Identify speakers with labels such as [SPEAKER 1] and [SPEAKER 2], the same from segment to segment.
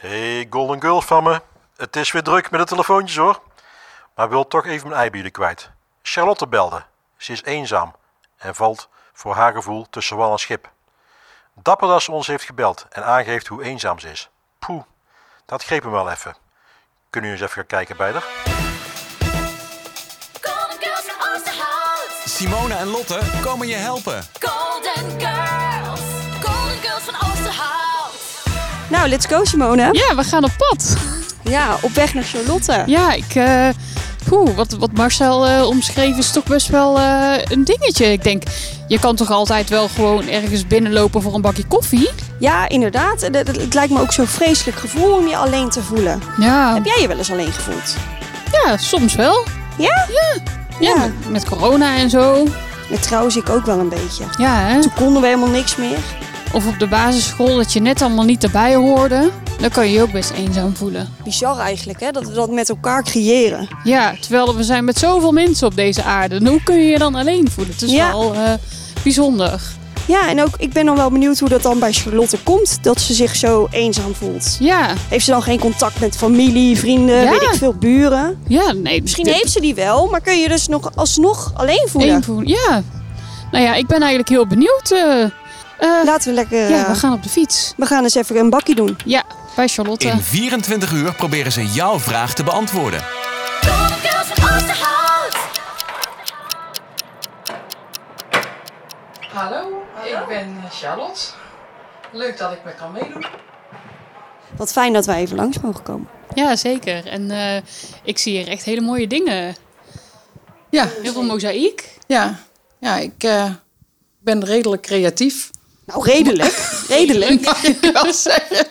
[SPEAKER 1] die Golden Girls van me. Het is weer druk met de telefoontjes hoor. Maar wil toch even mijn ei bij jullie kwijt. Charlotte belde. Ze is eenzaam en valt voor haar gevoel tussen wal en schip. Dapper dat ze ons heeft gebeld en aangeeft hoe eenzaam ze is. Poeh, dat greep hem wel even. Kunnen jullie eens even gaan kijken bij haar?
[SPEAKER 2] Golden Girls from Oosterhout.
[SPEAKER 3] Simone en Lotte komen je helpen.
[SPEAKER 2] Golden Girls. Golden Girls van Oosterhout.
[SPEAKER 4] Nou, let's go Simone.
[SPEAKER 5] Ja, we gaan op pad.
[SPEAKER 4] Ja, op weg naar Charlotte.
[SPEAKER 5] Ja, ik. eh, poeh, wat, wat Marcel eh omschreef is toch best wel eh, een dingetje. Ik denk, je kan toch altijd wel gewoon ergens binnenlopen voor een bakje koffie?
[SPEAKER 4] Ja, inderdaad. Het- Het het lijkt me ook zo'n vreselijk gevoel om je alleen te voelen.
[SPEAKER 5] Ja,
[SPEAKER 4] Heb jij je wel eens alleen gevoeld?
[SPEAKER 5] ja soms wel.
[SPEAKER 4] Ja?
[SPEAKER 5] Ja.
[SPEAKER 4] Ja.
[SPEAKER 5] Ja, met- met corona en zo.
[SPEAKER 4] Maar trouwens, ik ook wel een beetje.
[SPEAKER 5] Ja, hè?
[SPEAKER 4] Toen konden we helemaal niks meer.
[SPEAKER 5] Of op de basisschool dat je net allemaal niet erbij hoorde. Dan kan je je ook best eenzaam voelen.
[SPEAKER 4] Bizar eigenlijk, hè? Dat we dat met elkaar creëren.
[SPEAKER 5] Ja, terwijl we zijn met zoveel mensen op deze aarde. En Hoe kun je je dan alleen voelen? Het is
[SPEAKER 4] Ja.
[SPEAKER 5] wel eh, bijzonder.
[SPEAKER 4] Ja, en ook ik ben dan wel benieuwd hoe dat dan bij Charlotte komt. Dat ze zich zo eenzaam voelt.
[SPEAKER 5] Ja,
[SPEAKER 4] Heeft ze dan geen contact met familie, vrienden,
[SPEAKER 5] Ja.
[SPEAKER 4] weet ik veel, buren?
[SPEAKER 5] ja nee.
[SPEAKER 4] Misschien
[SPEAKER 5] dit-
[SPEAKER 4] heeft ze die wel, maar kun je je dus nog alsnog alleen voelen?
[SPEAKER 5] Eén voer- ja. Nou ja, ik ben eigenlijk heel benieuwd. eh. Eh,
[SPEAKER 4] Laten we lekker...
[SPEAKER 5] ja,
[SPEAKER 4] eh,
[SPEAKER 5] we gaan op de fiets.
[SPEAKER 4] we gaan eens even een bakkie doen.
[SPEAKER 5] Ja, bij Charlotte.
[SPEAKER 3] In 24 uur proberen ze jouw vraag te beantwoorden.
[SPEAKER 2] Golden Girls van Oosterhout.
[SPEAKER 6] Hallo, ik ben eh, Charlotte. Leuk dat ik me kan meedoen.
[SPEAKER 4] Wat fijn dat wij even langs mogen komen.
[SPEAKER 5] Ja, zeker. En eh, ik zie hier echt hele mooie dingen.
[SPEAKER 6] Ja,
[SPEAKER 5] Heel veel mozaïek.
[SPEAKER 6] ja, ja ik eh, ben redelijk creatief.
[SPEAKER 4] Nou, redelijk. redelijk.
[SPEAKER 6] Mag ik wel zeggen.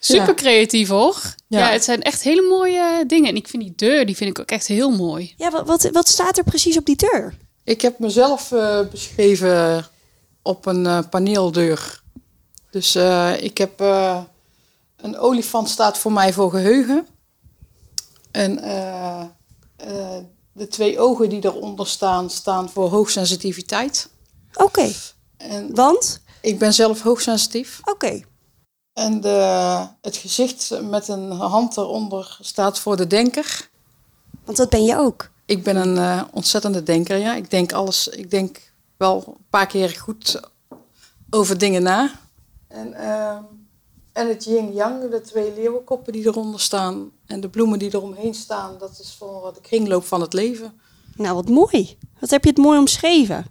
[SPEAKER 5] Super creatief hoor. Ja.
[SPEAKER 6] Ja.
[SPEAKER 5] het zijn echt hele mooie dingen. En ik vind die deur, die vind ik ook echt heel mooi.
[SPEAKER 4] Ja, wat, wat, wat staat er precies op die deur?
[SPEAKER 6] Ik heb mezelf eh, beschreven op een eh, paneeldeur. Dus eh, ik heb eh, een olifant staat voor mij voor geheugen. En eh, eh, de twee ogen die eronder staan, staan voor hoogsensitiviteit.
[SPEAKER 4] Oké,
[SPEAKER 6] En
[SPEAKER 4] want?
[SPEAKER 6] ik ben zelf hoogsensitief.
[SPEAKER 4] Oké.
[SPEAKER 6] En de, het gezicht met een hand eronder staat voor de denker.
[SPEAKER 4] Want dat ben je ook.
[SPEAKER 6] Ik ben een eh, ontzettende denker, ja. Ik denk alles, ik denk wel een paar keer goed over dingen na. En, ehm, en het yin-yang, de twee leeuwenkoppen die eronder staan en de bloemen die eromheen staan, dat is voor de kringloop van het leven.
[SPEAKER 4] Nou, wat mooi. Wat heb je het mooi omschreven.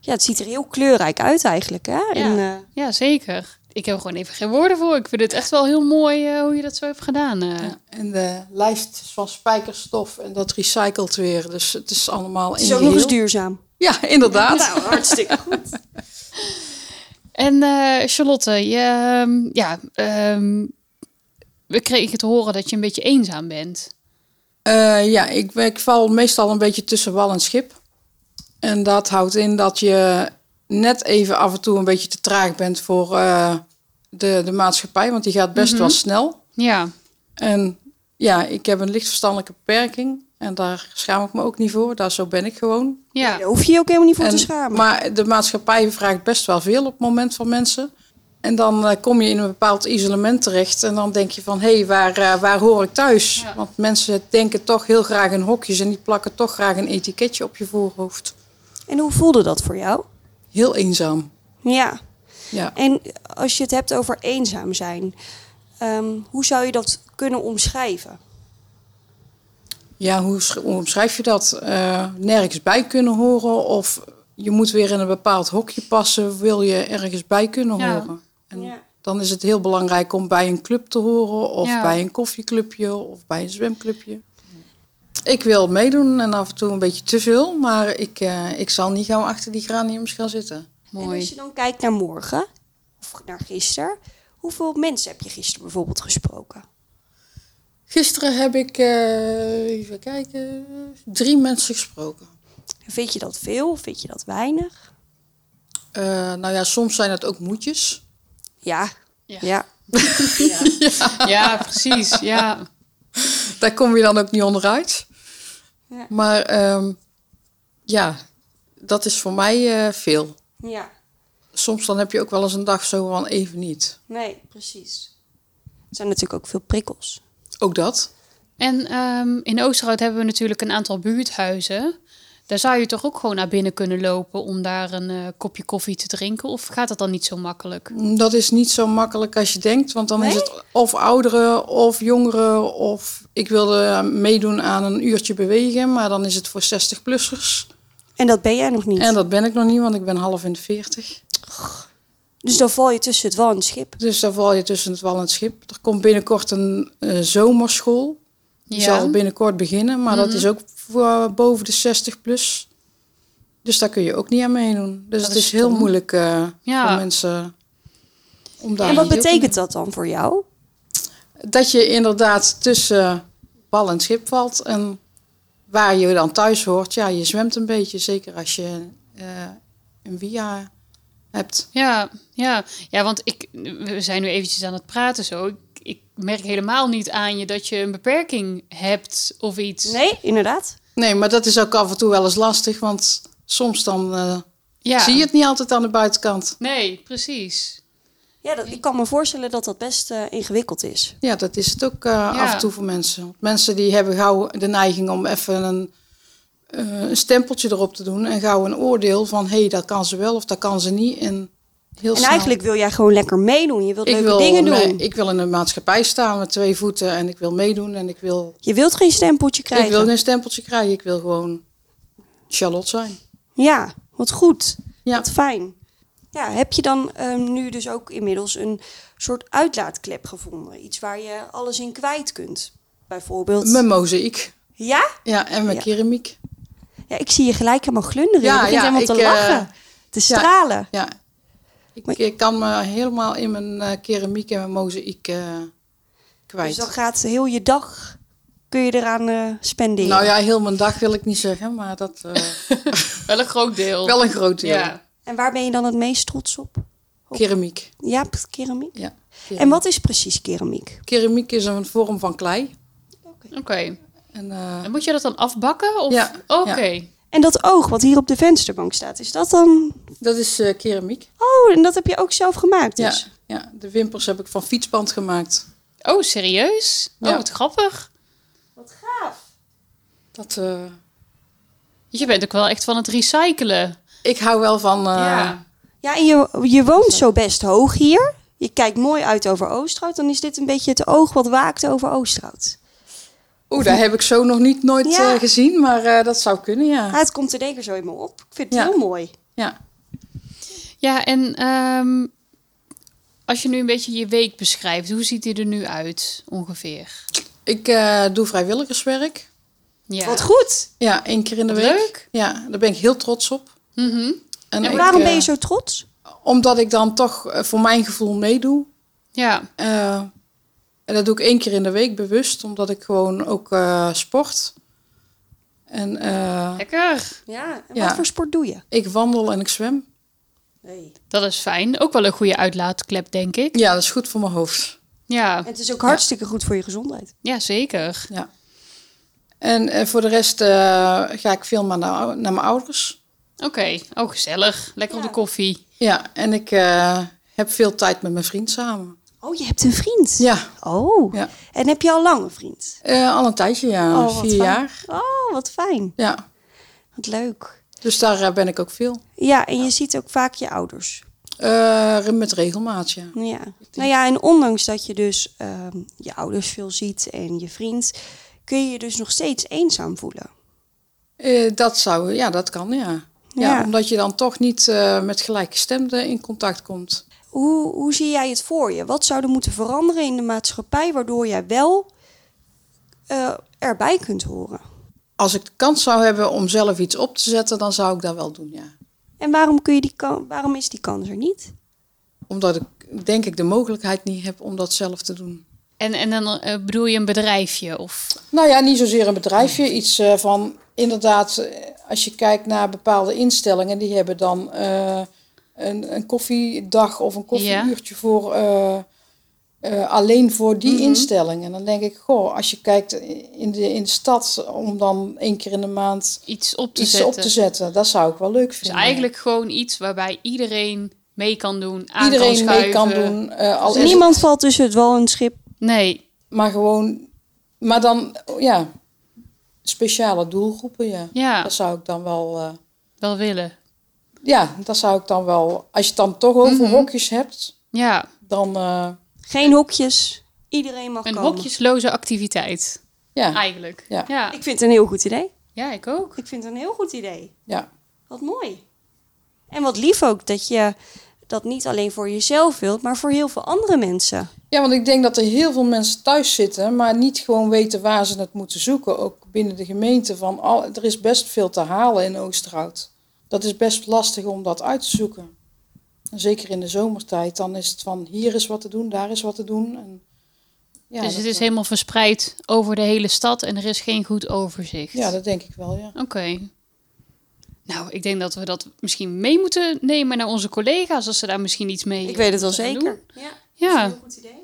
[SPEAKER 4] Ja, het ziet er heel kleurrijk uit eigenlijk, hè? Ja. En, eh,
[SPEAKER 5] Ja, zeker. Ik heb er gewoon even geen woorden voor. Ik vind het echt wel heel mooi eh, hoe je dat zo hebt gedaan. eh.
[SPEAKER 6] Ja, En de lijst is van spijkerstof en dat recycelt weer. Dus het is allemaal
[SPEAKER 4] het is
[SPEAKER 6] in
[SPEAKER 4] ook nog eens
[SPEAKER 6] geheel.
[SPEAKER 4] duurzaam.
[SPEAKER 6] Ja, inderdaad.
[SPEAKER 4] Nou, hartstikke goed.
[SPEAKER 5] En eh, Charlotte, je, ehm, ja, ehm, we kregen te horen dat je een beetje eenzaam bent.
[SPEAKER 6] Eh, ja, ik, ik val meestal een beetje tussen wal en schip. En dat houdt in dat je net even af en toe een beetje te traag bent voor eh, de, de maatschappij, want die gaat best wel snel.
[SPEAKER 5] Ja,
[SPEAKER 6] En ja, ik heb een licht verstandelijke beperking en daar schaam ik me ook niet voor. Daar zo ben ik gewoon.
[SPEAKER 5] ja.
[SPEAKER 4] Daar hoef je je ook helemaal niet voor te
[SPEAKER 6] En-
[SPEAKER 4] schamen.
[SPEAKER 6] Maar de maatschappij vraagt best wel veel op het moment van mensen. En dan eh, kom je in een bepaald isolement terecht. En dan denk je van, hé, waar, eh, waar hoor ik thuis?
[SPEAKER 5] Ja.
[SPEAKER 6] Want mensen denken toch heel graag in hokjes... en die plakken toch graag een etiketje op je voorhoofd.
[SPEAKER 4] En hoe voelde dat voor jou?
[SPEAKER 6] Heel eenzaam.
[SPEAKER 4] Ja.
[SPEAKER 6] Ja.
[SPEAKER 4] En als je het hebt over eenzaam zijn, ehm, hoe zou je dat kunnen omschrijven?
[SPEAKER 6] Ja, hoe, sch- hoe omschrijf je dat? Eh, nergens bij kunnen horen of je moet weer in een bepaald hokje passen, wil je ergens bij kunnen
[SPEAKER 5] Ja.
[SPEAKER 6] horen? En
[SPEAKER 4] Ja.
[SPEAKER 6] dan is het heel belangrijk om bij een club te horen of
[SPEAKER 5] Ja.
[SPEAKER 6] bij een koffieclubje of bij een zwemclubje. Ik wil meedoen en af en toe een beetje te veel, maar ik, eh, ik zal niet gauw achter die graniums gaan zitten.
[SPEAKER 4] En als je
[SPEAKER 5] Mooi.
[SPEAKER 4] dan kijkt naar morgen of naar gisteren, hoeveel mensen heb je gisteren bijvoorbeeld gesproken?
[SPEAKER 6] Gisteren heb ik, eh, even kijken, drie mensen gesproken.
[SPEAKER 4] Vind je dat veel? Vind je dat weinig?
[SPEAKER 6] Eh, nou ja, soms zijn het ook moedjes.
[SPEAKER 4] Ja. Ja.
[SPEAKER 5] Ja.
[SPEAKER 6] oh.
[SPEAKER 5] Ja, precies. Ja.
[SPEAKER 6] Daar kom je dan ook niet onderuit.
[SPEAKER 4] Ja.
[SPEAKER 6] Maar ehm, ja, dat is voor mij eh, veel.
[SPEAKER 4] Ja.
[SPEAKER 6] Soms dan heb je ook wel eens een dag zo van even niet.
[SPEAKER 4] Nee, precies. Er zijn natuurlijk ook veel prikkels.
[SPEAKER 6] Ook dat.
[SPEAKER 5] En ehm, in Oosterhout hebben we natuurlijk een aantal buurthuizen. Daar zou je toch ook gewoon naar binnen kunnen lopen om daar een eh, kopje koffie te drinken? Of gaat dat dan niet zo makkelijk?
[SPEAKER 6] Dat is niet zo makkelijk als je denkt, want dan is het of ouderen of jongeren of ik wilde meedoen aan een uurtje bewegen, maar dan is het voor 60-plussers.
[SPEAKER 4] En dat ben jij nog niet.
[SPEAKER 6] En dat ben ik nog niet, want ik ben half in de 40.
[SPEAKER 4] Dus dan val je tussen het wal en het schip.
[SPEAKER 6] Dus dan val je tussen het wal en het schip. Er komt binnenkort een eh, zomerschool. Die zal binnenkort beginnen, maar dat is ook voor eh, boven de 60 plus. Dus daar kun je ook niet aan meedoen. Dus
[SPEAKER 5] Dat
[SPEAKER 6] het
[SPEAKER 5] is
[SPEAKER 6] is, heel
[SPEAKER 5] stom.
[SPEAKER 6] moeilijk eh,
[SPEAKER 5] Ja.
[SPEAKER 6] voor mensen om daar...
[SPEAKER 4] en wat
[SPEAKER 5] je ook
[SPEAKER 4] betekent dat dan voor jou?
[SPEAKER 6] Dat je inderdaad tussen bal en schip valt. En waar je dan thuis hoort, ja, je zwemt een beetje. Zeker als je eh, een via hebt.
[SPEAKER 5] Ja, ja. ja want ik, we zijn nu eventjes aan het praten zo. Ik, ik merk helemaal niet aan je dat je een beperking hebt of iets.
[SPEAKER 4] Nee, inderdaad.
[SPEAKER 6] Nee, maar dat is ook af en toe wel eens lastig, want soms dan eh,
[SPEAKER 5] ja.
[SPEAKER 6] zie je het niet altijd aan de buitenkant.
[SPEAKER 5] Nee, precies.
[SPEAKER 4] Ja, dat, ik kan me voorstellen dat dat best eh, ingewikkeld is.
[SPEAKER 6] Ja, dat is het ook eh, af en toe voor mensen. Want Mensen die hebben gauw de neiging om even een, eh, een stempeltje erop te doen en gauw een oordeel van hé, hey, dat kan ze wel of dat kan ze niet. En, heel
[SPEAKER 4] En
[SPEAKER 6] snel-
[SPEAKER 4] eigenlijk wil jij gewoon lekker meedoen. Je wilt
[SPEAKER 6] ik
[SPEAKER 4] leuke
[SPEAKER 6] wil,
[SPEAKER 4] dingen doen.
[SPEAKER 6] nee, ik wil in de maatschappij staan met twee voeten en ik wil meedoen en ik wil,
[SPEAKER 4] Je wilt geen stempeltje krijgen.
[SPEAKER 6] ik wil een stempeltje krijgen. Ik wil gewoon Charlotte zijn.
[SPEAKER 4] Ja, wat goed.
[SPEAKER 6] Ja.
[SPEAKER 4] Wat fijn. Ja, heb je dan ehm, nu dus ook inmiddels een soort uitlaatklep gevonden? Iets waar je alles in kwijt kunt, bijvoorbeeld.
[SPEAKER 6] Mijn mozaïek.
[SPEAKER 4] Ja?
[SPEAKER 6] Ja, en mijn
[SPEAKER 4] Ja.
[SPEAKER 6] keramiek.
[SPEAKER 4] Ja, ik zie je gelijk helemaal glunderen.
[SPEAKER 6] Ja,
[SPEAKER 4] je begint
[SPEAKER 6] ja,
[SPEAKER 4] helemaal te
[SPEAKER 6] ik, eh,
[SPEAKER 4] lachen, te stralen.
[SPEAKER 6] Ja. Ik, ik kan me helemaal in mijn eh, keramiek en mijn mozaïek eh, kwijt.
[SPEAKER 4] Dus dan gaat heel je dag, kun je eraan eh, spenderen.
[SPEAKER 6] Nou ja, heel mijn dag wil ik niet zeggen, maar dat eh,
[SPEAKER 5] Wel een groot deel.
[SPEAKER 6] wel een groot deel.
[SPEAKER 5] Ja.
[SPEAKER 4] En waar ben je dan het meest trots op?
[SPEAKER 6] Keramiek.
[SPEAKER 4] Ja, p- keramiek.
[SPEAKER 6] Ja.
[SPEAKER 4] En wat is precies keramiek?
[SPEAKER 6] Keramiek is een vorm van klei.
[SPEAKER 5] Oké.
[SPEAKER 6] En, eh,
[SPEAKER 5] En moet je dat dan afbakken? Of?
[SPEAKER 6] Ja,
[SPEAKER 5] Oké.
[SPEAKER 4] En dat oog wat hier op de vensterbank staat, is dat dan...
[SPEAKER 6] dat is eh, keramiek.
[SPEAKER 4] Oh, en dat heb je ook zelf gemaakt dus?
[SPEAKER 6] Ja, ja, de wimpers heb ik van fietsband gemaakt.
[SPEAKER 5] Oh, serieus?
[SPEAKER 6] Ja.
[SPEAKER 5] Oh, wat grappig.
[SPEAKER 4] Wat gaaf.
[SPEAKER 6] Dat, eh,
[SPEAKER 5] Je bent ook wel echt van het recyclen.
[SPEAKER 6] ik hou wel van. eh,
[SPEAKER 5] ja.
[SPEAKER 4] Ja, en je, je woont zo best hoog hier. Je kijkt mooi uit over Oosterhout. Dan is dit een beetje het oog wat waakt over Oosterhout.
[SPEAKER 6] Oeh, daar heb ik zo nog niet nooit
[SPEAKER 4] Ja.
[SPEAKER 6] eh, gezien, maar eh, dat zou kunnen,
[SPEAKER 4] Ah,
[SPEAKER 6] ja.
[SPEAKER 4] het komt in één keer zo in me op. Ik vind het
[SPEAKER 6] Ja.
[SPEAKER 4] heel mooi.
[SPEAKER 6] ja.
[SPEAKER 5] Ja, en ehm, als je nu een beetje je week beschrijft, hoe ziet die er nu uit ongeveer?
[SPEAKER 6] Ik eh, doe vrijwilligerswerk.
[SPEAKER 5] Ja.
[SPEAKER 4] Wat goed.
[SPEAKER 6] Ja, één keer in de
[SPEAKER 5] Wat
[SPEAKER 6] week.
[SPEAKER 5] leuk.
[SPEAKER 6] Ja, daar ben ik heel trots op.
[SPEAKER 5] Mhm.
[SPEAKER 4] En
[SPEAKER 6] ik,
[SPEAKER 4] waarom
[SPEAKER 6] eh,
[SPEAKER 4] ben je zo trots?
[SPEAKER 6] Omdat ik dan toch eh, voor mijn gevoel meedoe.
[SPEAKER 5] Ja.
[SPEAKER 6] Eh, en dat doe ik één keer in de week bewust, omdat ik gewoon ook eh, sport. En eh,
[SPEAKER 5] Lekker.
[SPEAKER 4] Ja, en
[SPEAKER 6] Ja.
[SPEAKER 4] wat voor sport doe je?
[SPEAKER 6] ik wandel en ik zwem.
[SPEAKER 5] Dat is fijn. Ook wel een goede uitlaatklep, denk ik.
[SPEAKER 6] Ja, dat is goed voor mijn hoofd.
[SPEAKER 5] Ja,
[SPEAKER 4] En het is ook hartstikke goed voor je gezondheid.
[SPEAKER 5] ja zeker.
[SPEAKER 6] Ja. En eh, voor de rest eh, ga ik veel maar naar, naar mijn ouders.
[SPEAKER 5] Oké. Oh, gezellig. Lekker op de koffie.
[SPEAKER 6] Ja, en ik eh, heb veel tijd met mijn vriend samen.
[SPEAKER 4] Oh, je hebt een vriend.
[SPEAKER 6] Ja,
[SPEAKER 4] Oh.
[SPEAKER 6] Ja.
[SPEAKER 4] En heb je al lang een vriend?
[SPEAKER 6] eh, al een tijdje, ja.
[SPEAKER 4] oh, wat
[SPEAKER 6] vier
[SPEAKER 4] fijn.
[SPEAKER 6] jaar.
[SPEAKER 4] Oh, wat fijn.
[SPEAKER 6] Ja,
[SPEAKER 4] Wat leuk.
[SPEAKER 6] dus daar eh, ben ik ook veel.
[SPEAKER 4] Ja, en je ziet ook vaak je ouders.
[SPEAKER 6] Eh, met regelmaat, ja.
[SPEAKER 4] Ja. Nou ja, en ondanks dat je dus ehm, je ouders veel ziet en je vriend, kun je je dus nog steeds eenzaam voelen.
[SPEAKER 6] Eh, dat zou, ja, dat kan, ja. ja.
[SPEAKER 4] Ja.
[SPEAKER 6] omdat je dan toch niet eh, met gelijkgestemden in contact komt.
[SPEAKER 4] Hoe, hoe zie jij het voor je? Wat zou er moeten veranderen in de maatschappij waardoor jij wel eh, erbij kunt horen?
[SPEAKER 6] Als ik de kans zou hebben om zelf iets op te zetten, dan zou ik dat wel doen, ja.
[SPEAKER 4] En waarom, kun je die kan- waarom is die kans er niet?
[SPEAKER 6] Omdat ik, denk ik, de mogelijkheid niet heb om dat zelf te doen.
[SPEAKER 5] En, en dan eh, bedoel je een bedrijfje? Of...
[SPEAKER 6] Nou ja, niet zozeer een bedrijfje. Iets eh, van, inderdaad, eh, als je kijkt naar bepaalde instellingen, die hebben dan eh, een, een koffiedag of een koffieuurtje voor, eh, eh, alleen voor
[SPEAKER 5] Mhm.
[SPEAKER 6] die instelling. En dan denk ik, goh, als je kijkt in de, in de stad, om dan één keer in de maand
[SPEAKER 5] Iets op te
[SPEAKER 6] iets
[SPEAKER 5] zetten.
[SPEAKER 6] op te zetten, dat zou ik wel leuk
[SPEAKER 5] Dus
[SPEAKER 6] vinden.
[SPEAKER 5] eigenlijk gewoon iets waarbij iedereen mee kan doen, aan
[SPEAKER 6] iedereen
[SPEAKER 5] kan
[SPEAKER 6] mee kan
[SPEAKER 5] schuiven. Dus
[SPEAKER 6] doen. eh, al is het-
[SPEAKER 4] Niemand valt Dus tussen het wal en het schip.
[SPEAKER 5] Nee.
[SPEAKER 6] Maar gewoon, maar dan, ja, speciale doelgroepen, ja.
[SPEAKER 5] Ja.
[SPEAKER 6] Dat zou ik dan wel, eh,
[SPEAKER 5] Wel willen.
[SPEAKER 6] ja, dat zou ik dan wel, als je het dan toch over
[SPEAKER 5] Mhm.
[SPEAKER 6] hokjes hebt,
[SPEAKER 5] Ja.
[SPEAKER 6] dan, eh,
[SPEAKER 4] Geen hokjes. Iedereen mag
[SPEAKER 5] Een
[SPEAKER 4] komen.
[SPEAKER 5] hokjesloze activiteit.
[SPEAKER 6] ja,
[SPEAKER 5] Eigenlijk.
[SPEAKER 6] Ja.
[SPEAKER 5] Ah, Ja.
[SPEAKER 4] Ik vind het een heel goed idee.
[SPEAKER 5] Ja, ik ook.
[SPEAKER 4] Ik vind het een heel goed idee.
[SPEAKER 6] ja,
[SPEAKER 4] Wat mooi. En wat lief ook dat je dat niet alleen voor jezelf wilt, maar voor heel veel andere mensen.
[SPEAKER 6] Ja, want ik denk dat er heel veel mensen thuis zitten, maar niet gewoon weten waar ze het moeten zoeken. Ook binnen de gemeente. Van al, er is best veel te halen in Oosterhout. Dat is best lastig om dat uit te zoeken. En zeker in de zomertijd, dan is het van hier is wat te doen, daar is wat te doen. En, ja,
[SPEAKER 5] dus
[SPEAKER 6] dat-
[SPEAKER 5] het is helemaal verspreid over de hele stad en er is geen goed overzicht.
[SPEAKER 6] Ja, dat denk ik wel, ja.
[SPEAKER 5] Oké. Nou, ik denk dat we dat misschien mee moeten nemen naar onze collega's als ze daar misschien iets mee.
[SPEAKER 4] Ik weet het wel
[SPEAKER 5] gaan
[SPEAKER 4] zeker.
[SPEAKER 5] doen.
[SPEAKER 4] Ja,
[SPEAKER 5] Ja.
[SPEAKER 4] goed idee.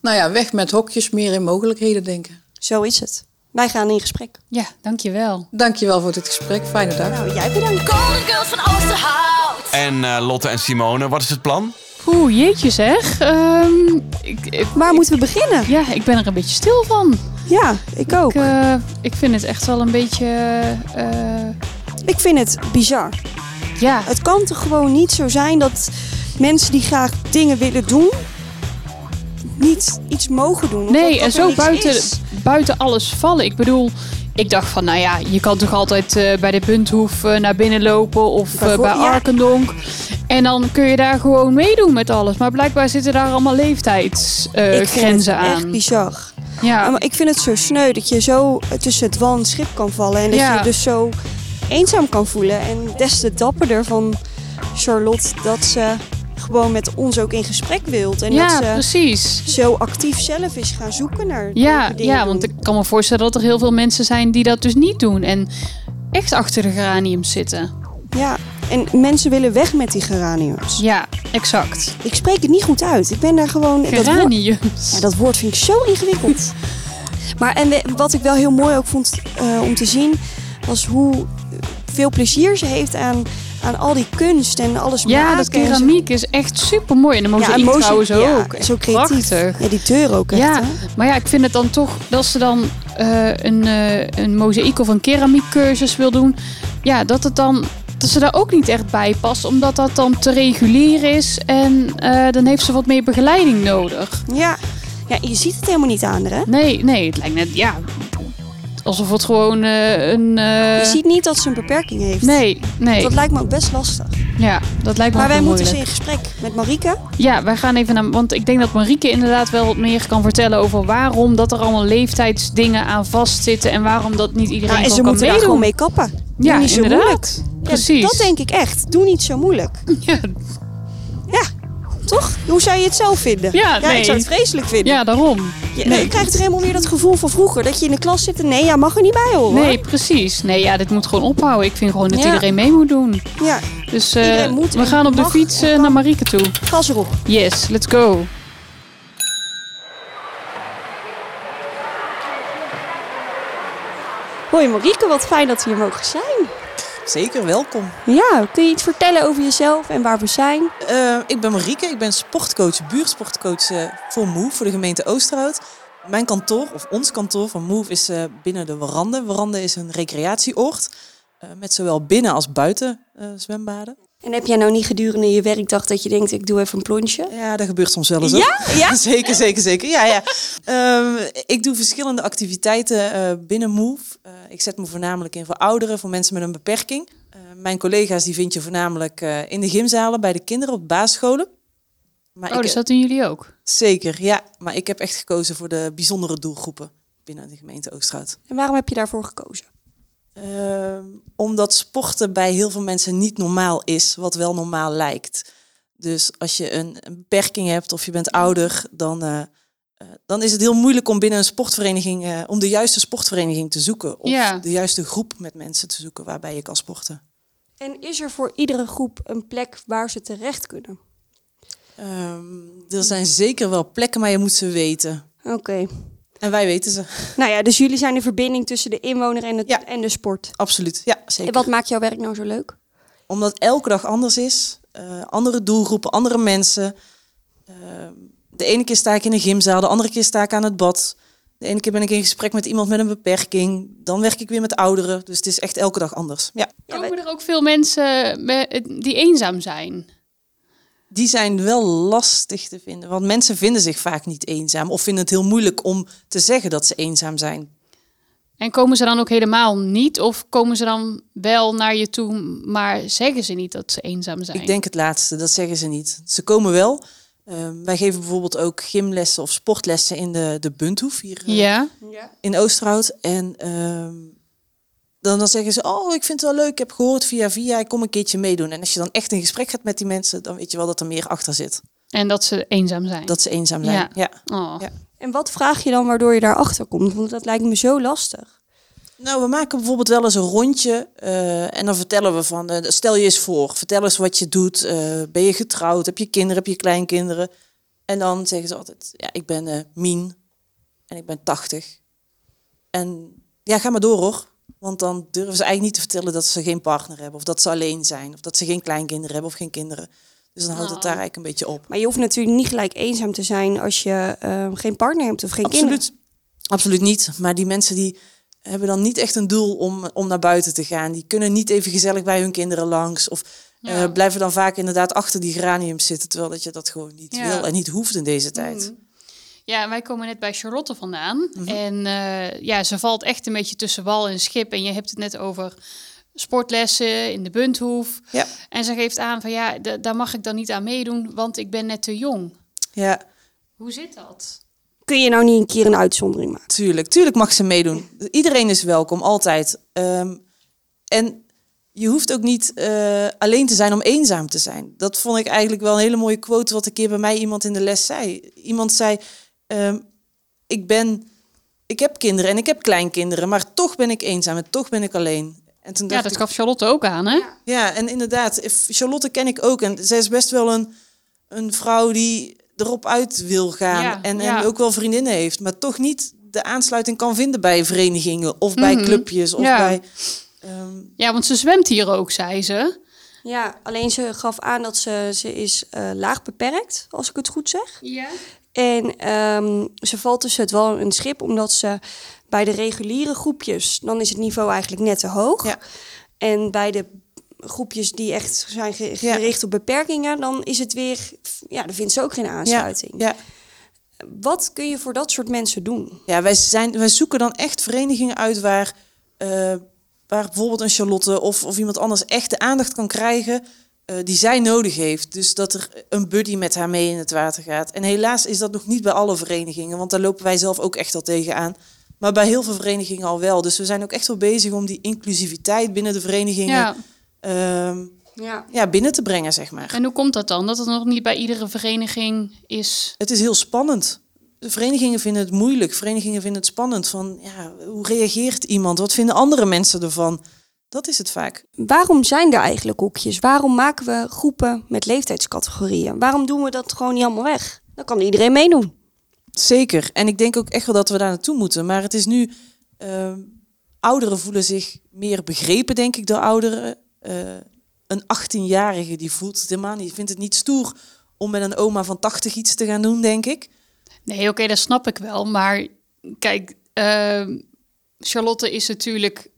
[SPEAKER 6] Nou ja, weg met hokjes, meer in mogelijkheden denken.
[SPEAKER 4] Zo is het. Wij gaan in gesprek.
[SPEAKER 5] Ja, dankjewel.
[SPEAKER 6] Dankjewel voor dit gesprek, fijne dag.
[SPEAKER 4] Nou, jij bedankt.
[SPEAKER 2] Golden Girls van Oosterhout.
[SPEAKER 3] En eh, Lotte en Simone, wat is het plan?
[SPEAKER 5] Oeh, jeetje zeg. Ehm, ik, ik-
[SPEAKER 4] Waar moeten we beginnen?
[SPEAKER 5] ja, ik ben er een beetje stil van.
[SPEAKER 4] Ja, ik ook.
[SPEAKER 5] Ik, eh, ik vind het echt wel een beetje... eh,
[SPEAKER 4] Ik vind het bizar.
[SPEAKER 5] ja,
[SPEAKER 4] Het kan toch gewoon niet zo zijn dat mensen die graag dingen willen doen, niet iets mogen doen. omdat
[SPEAKER 5] Nee,
[SPEAKER 4] dat
[SPEAKER 5] en
[SPEAKER 4] er
[SPEAKER 5] zo
[SPEAKER 4] niks
[SPEAKER 5] buiten,
[SPEAKER 4] is.
[SPEAKER 5] buiten alles vallen. Ik bedoel, ik dacht van, nou ja, je kan toch altijd eh, bij de Punthoef eh, naar binnen lopen of eh, bij
[SPEAKER 4] Bijvoorbeeld, ja.
[SPEAKER 5] Arkendonk. En dan kun je daar gewoon meedoen met alles. Maar blijkbaar zitten daar allemaal
[SPEAKER 4] Ik vind het
[SPEAKER 5] leeftijdsgrenzen
[SPEAKER 4] echt
[SPEAKER 5] aan.
[SPEAKER 4] bizar. Ja,
[SPEAKER 5] ja,
[SPEAKER 4] maar ik vind het zo sneu dat je zo tussen het wal en het schip kan vallen. En dat
[SPEAKER 5] Ja.
[SPEAKER 4] je je dus zo eenzaam kan voelen. En des te dapperder van Charlotte dat ze gewoon met ons ook in gesprek wilt. En
[SPEAKER 5] ja
[SPEAKER 4] dat ze
[SPEAKER 5] precies.
[SPEAKER 4] zo actief zelf is gaan zoeken naar
[SPEAKER 5] Ja,
[SPEAKER 4] leuke dingen
[SPEAKER 5] ja, want
[SPEAKER 4] doen.
[SPEAKER 5] ik kan me voorstellen dat er heel veel mensen zijn die dat dus niet doen. En echt achter de geraniums zitten.
[SPEAKER 4] Ja, en mensen willen weg met die geraniums.
[SPEAKER 5] Ja, exact.
[SPEAKER 4] Ik spreek het niet goed uit. Ik ben daar gewoon... dat woord- Ja,
[SPEAKER 5] Geraniums.
[SPEAKER 4] dat woord vind ik zo ingewikkeld. maar en we- wat ik wel heel mooi ook vond eh, om te zien, was hoe eh, veel plezier ze heeft aan, aan al die kunst en alles
[SPEAKER 5] Ja,
[SPEAKER 4] maken.
[SPEAKER 5] dat
[SPEAKER 4] en Ah, zo.
[SPEAKER 5] keramiek is echt super mooi. En de mozaïek
[SPEAKER 4] en mozaïek,
[SPEAKER 5] trouwens
[SPEAKER 4] ja,
[SPEAKER 5] ook.
[SPEAKER 4] Zo
[SPEAKER 5] Echt
[SPEAKER 4] creatief.
[SPEAKER 5] Prachtig.
[SPEAKER 4] Ja, die deur ook echt.
[SPEAKER 5] Ja,
[SPEAKER 4] hè?
[SPEAKER 5] maar ja, ik vind het dan toch dat ze dan eh, een, eh, een mozaïek of een keramiekcursus wil doen. Ja, dat het dan dat ze daar ook niet echt bij past, omdat dat dan te regulier is en eh, dan heeft ze wat meer begeleiding nodig.
[SPEAKER 4] Ja. ja, je ziet het helemaal niet aan haar, hè?
[SPEAKER 5] Nee, nee, het lijkt net ja alsof het gewoon eh, een. eh,
[SPEAKER 4] Je ziet niet dat ze een beperking heeft.
[SPEAKER 5] Nee, nee.
[SPEAKER 4] Dat lijkt me ook best lastig.
[SPEAKER 5] ja, dat lijkt me
[SPEAKER 4] maar
[SPEAKER 5] ook
[SPEAKER 4] wij
[SPEAKER 5] wel
[SPEAKER 4] moeten
[SPEAKER 5] moeilijk.
[SPEAKER 4] ze in gesprek met Marieke.
[SPEAKER 5] Ja, wij gaan even naar. Want ik denk dat Marieke inderdaad wel wat meer kan vertellen over waarom dat er allemaal leeftijdsdingen aan vastzitten. En waarom dat niet iedereen
[SPEAKER 4] Ja, Nou, en
[SPEAKER 5] gewoon
[SPEAKER 4] ze
[SPEAKER 5] kan
[SPEAKER 4] moeten daar
[SPEAKER 5] meedoen.
[SPEAKER 4] gewoon mee kappen. Doe
[SPEAKER 5] ja,
[SPEAKER 4] niet zo
[SPEAKER 5] inderdaad.
[SPEAKER 4] moeilijk. Ja,
[SPEAKER 5] Precies.
[SPEAKER 4] dat denk ik echt. Doe niet zo moeilijk.
[SPEAKER 5] Ja,
[SPEAKER 4] Ja, toch? Hoe zou je het zelf vinden?
[SPEAKER 5] Ja, nee.
[SPEAKER 4] ik zou het vreselijk vinden.
[SPEAKER 5] ja, daarom.
[SPEAKER 4] Je, je krijgt er helemaal weer dat gevoel van vroeger. Dat je in de klas zit en nee, ja, mag er niet bij hoor.
[SPEAKER 5] Nee, precies. Nee, ja, dit moet gewoon ophouden. Ik vind gewoon dat
[SPEAKER 4] Ja.
[SPEAKER 5] iedereen mee moet doen.
[SPEAKER 4] Ja,
[SPEAKER 5] Dus eh,
[SPEAKER 4] Iedereen moet
[SPEAKER 5] we
[SPEAKER 4] en
[SPEAKER 5] gaan op de
[SPEAKER 4] mag
[SPEAKER 5] fiets
[SPEAKER 4] en
[SPEAKER 5] eh,
[SPEAKER 4] kan.
[SPEAKER 5] naar Marieke toe.
[SPEAKER 4] gas erop.
[SPEAKER 5] Yes, let's go.
[SPEAKER 4] Hoi Marieke, wat fijn dat we hier mogen zijn.
[SPEAKER 7] Zeker, welkom.
[SPEAKER 4] Ja, kun je iets vertellen over jezelf en waar we zijn?
[SPEAKER 7] Eh, ik ben Marieke, ik ben sportcoach, buurtsportcoach eh, voor MOVE, voor de gemeente Oosterhout. Mijn kantoor, of ons kantoor van MOVE, is eh, binnen de Warande. Warande is een recreatieoord eh, met zowel binnen als buiten eh, zwembaden.
[SPEAKER 4] En heb jij nou niet gedurende je werkdag dat je denkt, ik doe even een plonsje?
[SPEAKER 7] Ja, dat gebeurt soms wel eens. Ja? ja? zeker, zeker, zeker. Ja, ja. Ehm, ik doe verschillende activiteiten eh, binnen MOVE. Eh, ik zet me voornamelijk in voor ouderen, voor mensen met een beperking. Eh, mijn collega's die vind je voornamelijk eh, in de gymzalen, bij de kinderen, op basisscholen. Maar
[SPEAKER 5] Oh,
[SPEAKER 7] ik-
[SPEAKER 5] dus
[SPEAKER 4] eh,
[SPEAKER 5] dat doen jullie ook?
[SPEAKER 7] Zeker, ja. Maar ik heb echt gekozen voor de bijzondere doelgroepen binnen de gemeente Oosterhout.
[SPEAKER 4] En waarom heb je daarvoor gekozen?
[SPEAKER 7] Ehm, omdat sporten bij heel veel mensen niet normaal is, wat wel normaal lijkt. Dus als je een, een beperking hebt of je bent ouder, dan, eh, eh, dan is het heel moeilijk om binnen een sportvereniging, eh, om de juiste sportvereniging te zoeken. Of
[SPEAKER 5] Ja.
[SPEAKER 7] de juiste groep met mensen te zoeken waarbij je kan sporten.
[SPEAKER 4] En is er voor iedere groep een plek waar ze terecht kunnen?
[SPEAKER 7] Ehm, er zijn zeker wel plekken, maar je moet ze weten.
[SPEAKER 4] Oké.
[SPEAKER 7] En wij weten ze.
[SPEAKER 4] Nou ja, dus jullie zijn de verbinding tussen de inwoner en, het,
[SPEAKER 7] Ja.
[SPEAKER 4] en de sport.
[SPEAKER 7] Absoluut, ja, zeker.
[SPEAKER 4] En wat maakt jouw werk nou zo leuk?
[SPEAKER 7] omdat elke dag anders is. eh, andere doelgroepen, andere mensen. Eh, De ene keer sta ik in een gymzaal, de andere keer sta ik aan het bad. De ene keer ben ik in gesprek met iemand met een beperking. Dan werk ik weer met ouderen. Dus het is echt elke dag anders. Ja.
[SPEAKER 5] Komen er ook veel mensen me- die eenzaam zijn?
[SPEAKER 7] Die zijn wel lastig te vinden. Want mensen vinden zich vaak niet eenzaam. Of vinden het heel moeilijk om te zeggen dat ze eenzaam zijn.
[SPEAKER 5] En komen ze dan ook helemaal niet? Of komen ze dan wel naar je toe, maar zeggen ze niet dat ze eenzaam zijn?
[SPEAKER 7] Ik denk het laatste, dat zeggen ze niet. Ze komen wel. Ehm, wij geven bijvoorbeeld ook gymlessen of sportlessen in de, de Bunthoef hier eh,
[SPEAKER 5] Ja,
[SPEAKER 7] in Oosterhout. En ehm, dan, dan zeggen ze, oh, ik vind het wel leuk, ik heb gehoord via via, ik kom een keertje meedoen. En als je dan echt in gesprek gaat met die mensen, dan weet je wel dat er meer achter zit.
[SPEAKER 5] en dat ze eenzaam zijn.
[SPEAKER 7] Dat ze eenzaam zijn.
[SPEAKER 5] Ja.
[SPEAKER 7] Ja.
[SPEAKER 5] Oh.
[SPEAKER 7] Ja.
[SPEAKER 4] En wat vraag je dan waardoor je daarachter komt? Want dat lijkt me zo lastig.
[SPEAKER 7] Nou, we maken bijvoorbeeld wel eens een rondje eh, en dan vertellen we van, eh, stel je eens voor, vertel eens wat je doet, eh, ben je getrouwd, heb je kinderen, heb je kleinkinderen? En dan zeggen ze altijd, ja, ik ben eh Mien en ik ben 80. En ja, ga maar door hoor, want dan durven ze eigenlijk niet te vertellen dat ze geen partner hebben of dat ze alleen zijn of dat ze geen kleinkinderen hebben of geen kinderen. Dus dan houdt het daar eigenlijk een beetje op.
[SPEAKER 4] Maar je hoeft natuurlijk niet gelijk eenzaam te zijn als je eh, geen partner hebt of geen kinderen.
[SPEAKER 7] Absoluut. Absoluut niet. Maar die mensen die hebben dan niet echt een doel om, om naar buiten te gaan. Die kunnen niet even gezellig bij hun kinderen langs. Of eh,
[SPEAKER 5] Ja.
[SPEAKER 7] blijven dan vaak inderdaad achter die geraniums zitten. Terwijl dat je dat gewoon niet
[SPEAKER 5] Ja. Mhm.
[SPEAKER 7] wil en niet hoeft in deze tijd.
[SPEAKER 5] Ja, wij komen net bij Charlotte vandaan.
[SPEAKER 7] Mhm.
[SPEAKER 5] En eh, ja, ze valt echt een beetje tussen wal en schip. En je hebt het net over sportlessen in de Bunthoef.
[SPEAKER 7] Ja.
[SPEAKER 5] En ze geeft aan van ja, d- daar mag ik dan niet aan meedoen, want ik ben net te jong.
[SPEAKER 7] Ja,
[SPEAKER 5] Hoe zit dat?
[SPEAKER 4] Kun je nou niet een keer een uitzondering maken?
[SPEAKER 7] tuurlijk. Tuurlijk mag ze meedoen. Iedereen is welkom, altijd. Ehm, en je hoeft ook niet eh, alleen te zijn om eenzaam te zijn. Dat vond ik eigenlijk wel een hele mooie quote... wat een keer bij mij iemand in de les zei. Iemand zei... ehm, ik ben, ik heb kinderen en ik heb kleinkinderen, maar toch ben ik eenzaam en toch ben ik alleen. En toen
[SPEAKER 5] Ja,
[SPEAKER 7] dacht
[SPEAKER 5] dat
[SPEAKER 7] ik,
[SPEAKER 5] gaf Charlotte ook aan, hè?
[SPEAKER 7] ja, en inderdaad, if- Charlotte ken ik ook en zij is best wel een, een vrouw die erop uit wil gaan
[SPEAKER 5] Ja,
[SPEAKER 7] en,
[SPEAKER 5] ja.
[SPEAKER 7] en ook wel vriendinnen heeft, maar toch niet de aansluiting kan vinden bij verenigingen of bij
[SPEAKER 5] Mhm,
[SPEAKER 7] clubjes of
[SPEAKER 5] ja.
[SPEAKER 7] bij. ehm,
[SPEAKER 5] Ja, want ze zwemt hier ook, zei ze.
[SPEAKER 4] Ja, alleen ze gaf aan dat ze, ze is eh, laag beperkt, als ik het goed zeg.
[SPEAKER 5] Ja.
[SPEAKER 4] En ehm, ze valt tussen het wel een schip, omdat ze bij de reguliere groepjes, dan is het niveau eigenlijk net te hoog.
[SPEAKER 7] Ja.
[SPEAKER 4] En bij de groepjes die echt zijn ge-
[SPEAKER 7] Ja.
[SPEAKER 4] gericht op beperkingen, dan is het weer, ja, dan vindt ze ook geen aansluiting.
[SPEAKER 7] ja.
[SPEAKER 4] Wat kun je voor dat soort mensen doen?
[SPEAKER 7] Ja, wij, zijn, wij zoeken dan echt verenigingen uit waar, eh, waar bijvoorbeeld een Charlotte of, of iemand anders echt de aandacht kan krijgen eh, die zij nodig heeft. Dus dat er een buddy met haar mee in het water gaat. En helaas is dat nog niet bij alle verenigingen, want daar lopen wij zelf ook echt al tegenaan. Maar bij heel veel verenigingen al wel. Dus we zijn ook echt wel bezig om die inclusiviteit binnen de verenigingen
[SPEAKER 5] ja.
[SPEAKER 7] ehm,
[SPEAKER 4] Ja.
[SPEAKER 7] ja, binnen te brengen, zeg maar.
[SPEAKER 5] En hoe komt dat dan? Dat het nog niet bij iedere vereniging is.
[SPEAKER 7] Het is heel spannend. De verenigingen vinden het moeilijk. Verenigingen vinden het spannend. Van, ja, hoe reageert iemand? Wat vinden andere mensen ervan? Dat is het vaak.
[SPEAKER 4] Waarom zijn er eigenlijk hoekjes? Waarom maken we groepen met leeftijdscategorieën? Waarom doen we dat gewoon niet allemaal weg? Dan kan iedereen meedoen.
[SPEAKER 7] Zeker. En ik denk ook echt wel dat we daar naartoe moeten. Maar het is nu... ehm, ouderen voelen zich meer begrepen, denk ik, door ouderen. Eh, een 18-jarige die voelt het helemaal niet. vindt het niet stoer om met een oma van 80 iets te gaan doen, denk ik.
[SPEAKER 5] Nee, oké, dat snap ik wel. Maar kijk, ehm, Charlotte is natuurlijk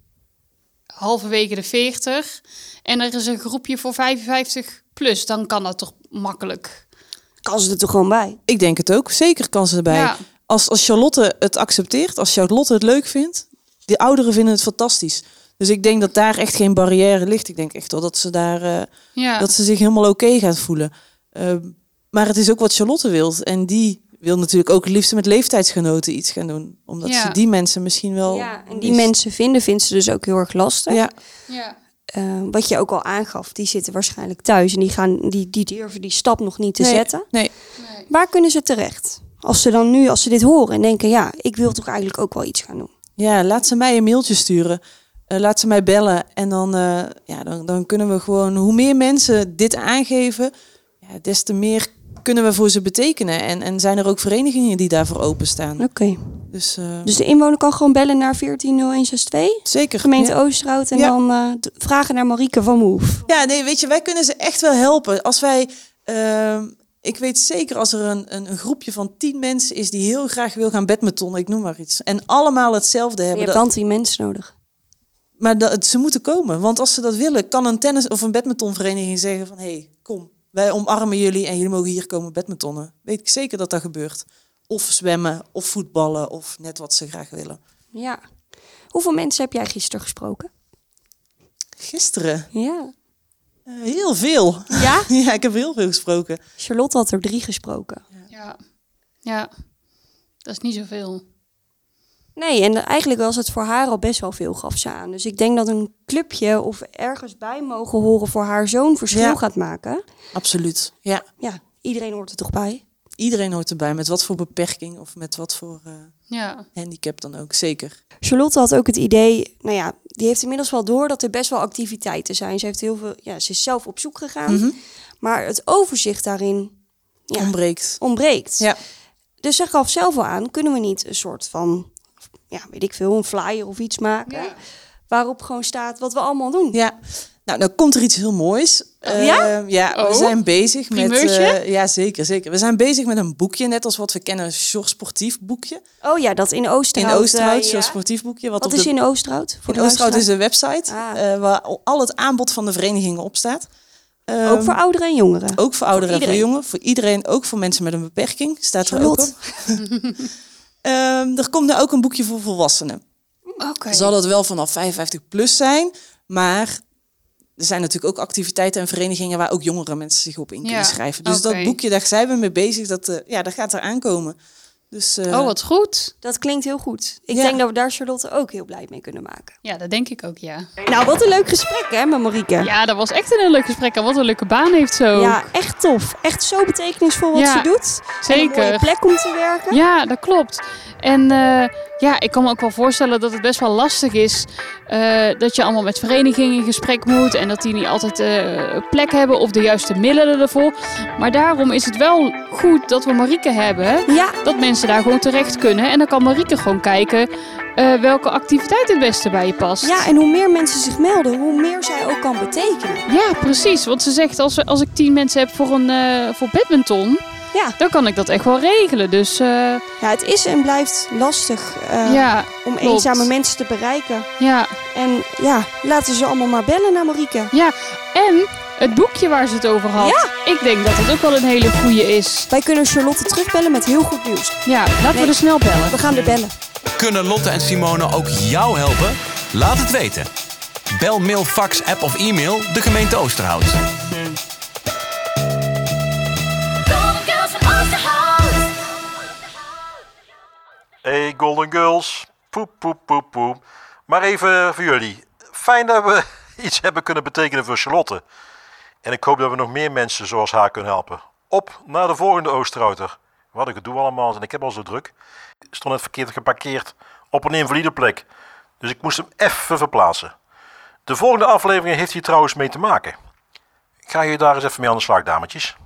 [SPEAKER 5] halverwege de 40. En er is een groepje voor 55 plus. Dan kan dat toch makkelijk.
[SPEAKER 4] Kan ze er toch gewoon bij?
[SPEAKER 7] Ik denk het ook. Zeker kan ze erbij.
[SPEAKER 5] Ja.
[SPEAKER 7] Als, als Charlotte het accepteert, als Charlotte het leuk vindt, de ouderen vinden het fantastisch. Dus ik denk dat daar echt geen barrière ligt. Ik denk echt wel dat ze, daar, eh,
[SPEAKER 5] Ja.
[SPEAKER 7] dat ze zich helemaal oké gaat voelen. Ehm, maar het is ook wat Charlotte wilt. En die wil natuurlijk ook het liefst met leeftijdsgenoten iets gaan doen. Omdat
[SPEAKER 5] Ja.
[SPEAKER 7] ze die mensen misschien wel...
[SPEAKER 4] Ja, en die
[SPEAKER 7] is-
[SPEAKER 4] mensen vinden, vindt ze dus ook heel erg lastig.
[SPEAKER 7] Ja,
[SPEAKER 5] ja.
[SPEAKER 4] Eh, wat je ook al aangaf, die zitten waarschijnlijk thuis en die, gaan, die, die durven die stap nog niet te
[SPEAKER 7] Nee,
[SPEAKER 4] zetten.
[SPEAKER 7] Nee,
[SPEAKER 4] Waar kunnen ze terecht? Als ze dan nu, als ze dit horen en denken, ja, ik wil toch eigenlijk ook wel iets gaan doen.
[SPEAKER 7] Ja, laat ze mij een mailtje sturen. Eh, laat ze mij bellen. En dan, eh, ja, dan, dan kunnen we gewoon, hoe meer mensen dit aangeven, ja, des te meer kunnen we voor ze betekenen. En, en zijn er ook verenigingen die daarvoor openstaan.
[SPEAKER 4] Oké.
[SPEAKER 7] Dus eh,
[SPEAKER 4] Dus de inwoner kan gewoon bellen naar 140162,
[SPEAKER 7] zeker.
[SPEAKER 4] gemeente
[SPEAKER 7] ja.
[SPEAKER 4] Oosterhout. En
[SPEAKER 7] Ja.
[SPEAKER 4] dan eh, d- vragen naar Marieke van Moef.
[SPEAKER 7] Ja, nee, weet je, wij kunnen ze echt wel helpen. Als wij ehm, ik weet zeker als er een, een, een groepje van tien mensen is die heel graag wil gaan badmintonnen, ik noem maar iets. En allemaal hetzelfde
[SPEAKER 4] Je
[SPEAKER 7] hebben.
[SPEAKER 4] hebt
[SPEAKER 7] dat-
[SPEAKER 4] dan die mensen nodig.
[SPEAKER 7] maar dat, ze moeten komen. Want als ze dat willen, kan een tennis- of een badmintonvereniging zeggen van... hé, hey, kom, wij omarmen jullie en jullie mogen hier komen badmintonnen. Weet ik zeker dat dat gebeurt. Of zwemmen, of voetballen, of net wat ze graag willen.
[SPEAKER 4] Ja. Hoeveel mensen heb jij gisteren gesproken?
[SPEAKER 7] Gisteren,
[SPEAKER 4] Ja.
[SPEAKER 7] eh, heel veel.
[SPEAKER 4] Ja?
[SPEAKER 7] ja, ik heb heel veel gesproken.
[SPEAKER 4] Charlotte had er drie gesproken.
[SPEAKER 5] Ja. ja, dat is niet zoveel.
[SPEAKER 4] Nee, en eigenlijk was het voor haar al best wel veel, gaf ze aan. Dus ik denk dat een clubje of ergens bij mogen horen voor haar zo'n verschil
[SPEAKER 7] Ja.
[SPEAKER 4] gaat maken.
[SPEAKER 7] Absoluut, ja.
[SPEAKER 4] Ja, iedereen hoort er toch bij?
[SPEAKER 7] Iedereen hoort erbij, met wat voor beperking of met wat voor eh,
[SPEAKER 5] Ja,
[SPEAKER 7] handicap dan ook, zeker.
[SPEAKER 4] Charlotte had ook het idee, nou ja, die heeft inmiddels wel door dat er best wel activiteiten zijn. Ze, heeft heel veel, ja, ze is zelf op zoek gegaan, maar het overzicht daarin ja,
[SPEAKER 7] Mhm. Ontbreekt.
[SPEAKER 4] ontbreekt.
[SPEAKER 7] Ja.
[SPEAKER 4] Dus ze gaf zelf al aan, kunnen we niet een soort van, ja, weet ik veel, een flyer of iets maken... waarop gewoon staat wat we allemaal doen.
[SPEAKER 7] Ja, nou, nou komt er iets heel moois. Eh,
[SPEAKER 4] Oh, Ja?
[SPEAKER 7] ja, we
[SPEAKER 5] Oh.
[SPEAKER 7] zijn bezig met...
[SPEAKER 5] Primeurtje?
[SPEAKER 7] eh, ja, zeker, zeker. We zijn bezig met een boekje, net als wat we kennen, een Sjors sportief boekje.
[SPEAKER 4] Oh ja, dat in
[SPEAKER 7] In
[SPEAKER 4] Oosterhout. eh,
[SPEAKER 7] Oosterhout, Sjors
[SPEAKER 4] ja.
[SPEAKER 7] sportief boekje. Wat,
[SPEAKER 4] Wat
[SPEAKER 7] op
[SPEAKER 4] is
[SPEAKER 7] de,
[SPEAKER 4] in Oosterhout? Voor
[SPEAKER 7] in
[SPEAKER 4] de
[SPEAKER 7] Oosterhout is
[SPEAKER 4] luisteraar?
[SPEAKER 7] de website
[SPEAKER 4] Ah.
[SPEAKER 7] eh, waar al- al het aanbod van de verenigingen op staat. Ehm,
[SPEAKER 4] Ook voor ouderen en jongeren?
[SPEAKER 7] ook voor ouderen en voor
[SPEAKER 4] iedereen.
[SPEAKER 7] jongen, voor iedereen, ook voor mensen met een beperking, staat er ook
[SPEAKER 4] Charlotte.
[SPEAKER 7] op. Ehm, er komt nu ook een boekje voor volwassenen.
[SPEAKER 5] Oh, oké.
[SPEAKER 7] Zal dat wel vanaf 55 plus zijn, maar er zijn natuurlijk ook activiteiten en verenigingen waar ook jongere mensen zich op in kunnen
[SPEAKER 5] Ja,
[SPEAKER 7] schrijven. Dus
[SPEAKER 5] oké.
[SPEAKER 7] dat boekje, daar zijn we mee bezig, dat, eh, ja, dat gaat er aankomen. Dus, eh,
[SPEAKER 5] Oh, wat goed.
[SPEAKER 4] Dat klinkt heel goed. Ik
[SPEAKER 7] Ja.
[SPEAKER 4] denk dat we daar Charlotte ook heel blij mee kunnen maken.
[SPEAKER 5] Ja, dat denk ik ook, ja.
[SPEAKER 4] Nou, wat een leuk gesprek hè, met Marieke.
[SPEAKER 5] Ja, dat was echt een heel leuk gesprek. En wat een leuke baan heeft zo.
[SPEAKER 4] Ja, echt tof. Echt zo betekenisvol wat
[SPEAKER 5] Ja,
[SPEAKER 4] ze doet. En een mooie
[SPEAKER 5] zeker.
[SPEAKER 4] plek om te werken.
[SPEAKER 5] Ja, dat klopt. En eh, ja, ik kan me ook wel voorstellen dat het best wel lastig is eh, dat je allemaal met verenigingen in gesprek moet en dat die niet altijd eh, plek hebben of de juiste middelen ervoor. Maar daarom is het wel goed dat we Marieke hebben,
[SPEAKER 4] Ja,
[SPEAKER 5] dat mensen daar gewoon terecht kunnen. En dan kan Marieke gewoon kijken eh, welke activiteit het beste bij je past.
[SPEAKER 4] ja, en hoe meer mensen zich melden, hoe meer zij ook kan betekenen.
[SPEAKER 5] Ja, precies. Want ze zegt, als, als ik tien mensen heb voor, een, eh, voor badminton,
[SPEAKER 4] Ja.
[SPEAKER 5] dan kan ik dat echt wel regelen. Dus eh,
[SPEAKER 4] Ja, het is en blijft lastig eh,
[SPEAKER 5] ja,
[SPEAKER 4] om
[SPEAKER 5] klopt.
[SPEAKER 4] eenzame mensen te bereiken.
[SPEAKER 5] ja.
[SPEAKER 4] En ja, laten ze allemaal maar bellen naar Marieke.
[SPEAKER 5] En het boekje waar ze het over had. Ik denk dat het ook wel een hele goeie is.
[SPEAKER 4] Wij kunnen Charlotte terugbellen met heel goed nieuws.
[SPEAKER 5] Ja, laten
[SPEAKER 4] Nee.
[SPEAKER 5] we er snel bellen.
[SPEAKER 4] We gaan er bellen.
[SPEAKER 3] Kunnen Lotte en Simone ook jou helpen? Laat het weten. Bel, mail, fax, app of e-mail de gemeente Oosterhout.
[SPEAKER 2] Golden Girls van Oosterhout.
[SPEAKER 1] Hey Golden Girls. Poep, poep, poep, poep. Maar even voor jullie. Fijn dat we iets hebben kunnen betekenen voor Charlotte. En ik hoop dat we nog meer mensen zoals haar kunnen helpen. Op naar de volgende Oosterhouter. Wat een gedoe allemaal. En ik heb al zo druk. Ik stond net verkeerd geparkeerd op een invalide plek. Dus ik moest hem even verplaatsen. De volgende aflevering heeft hier trouwens mee te maken. Ik ga je daar eens even mee aan de slag, dametjes.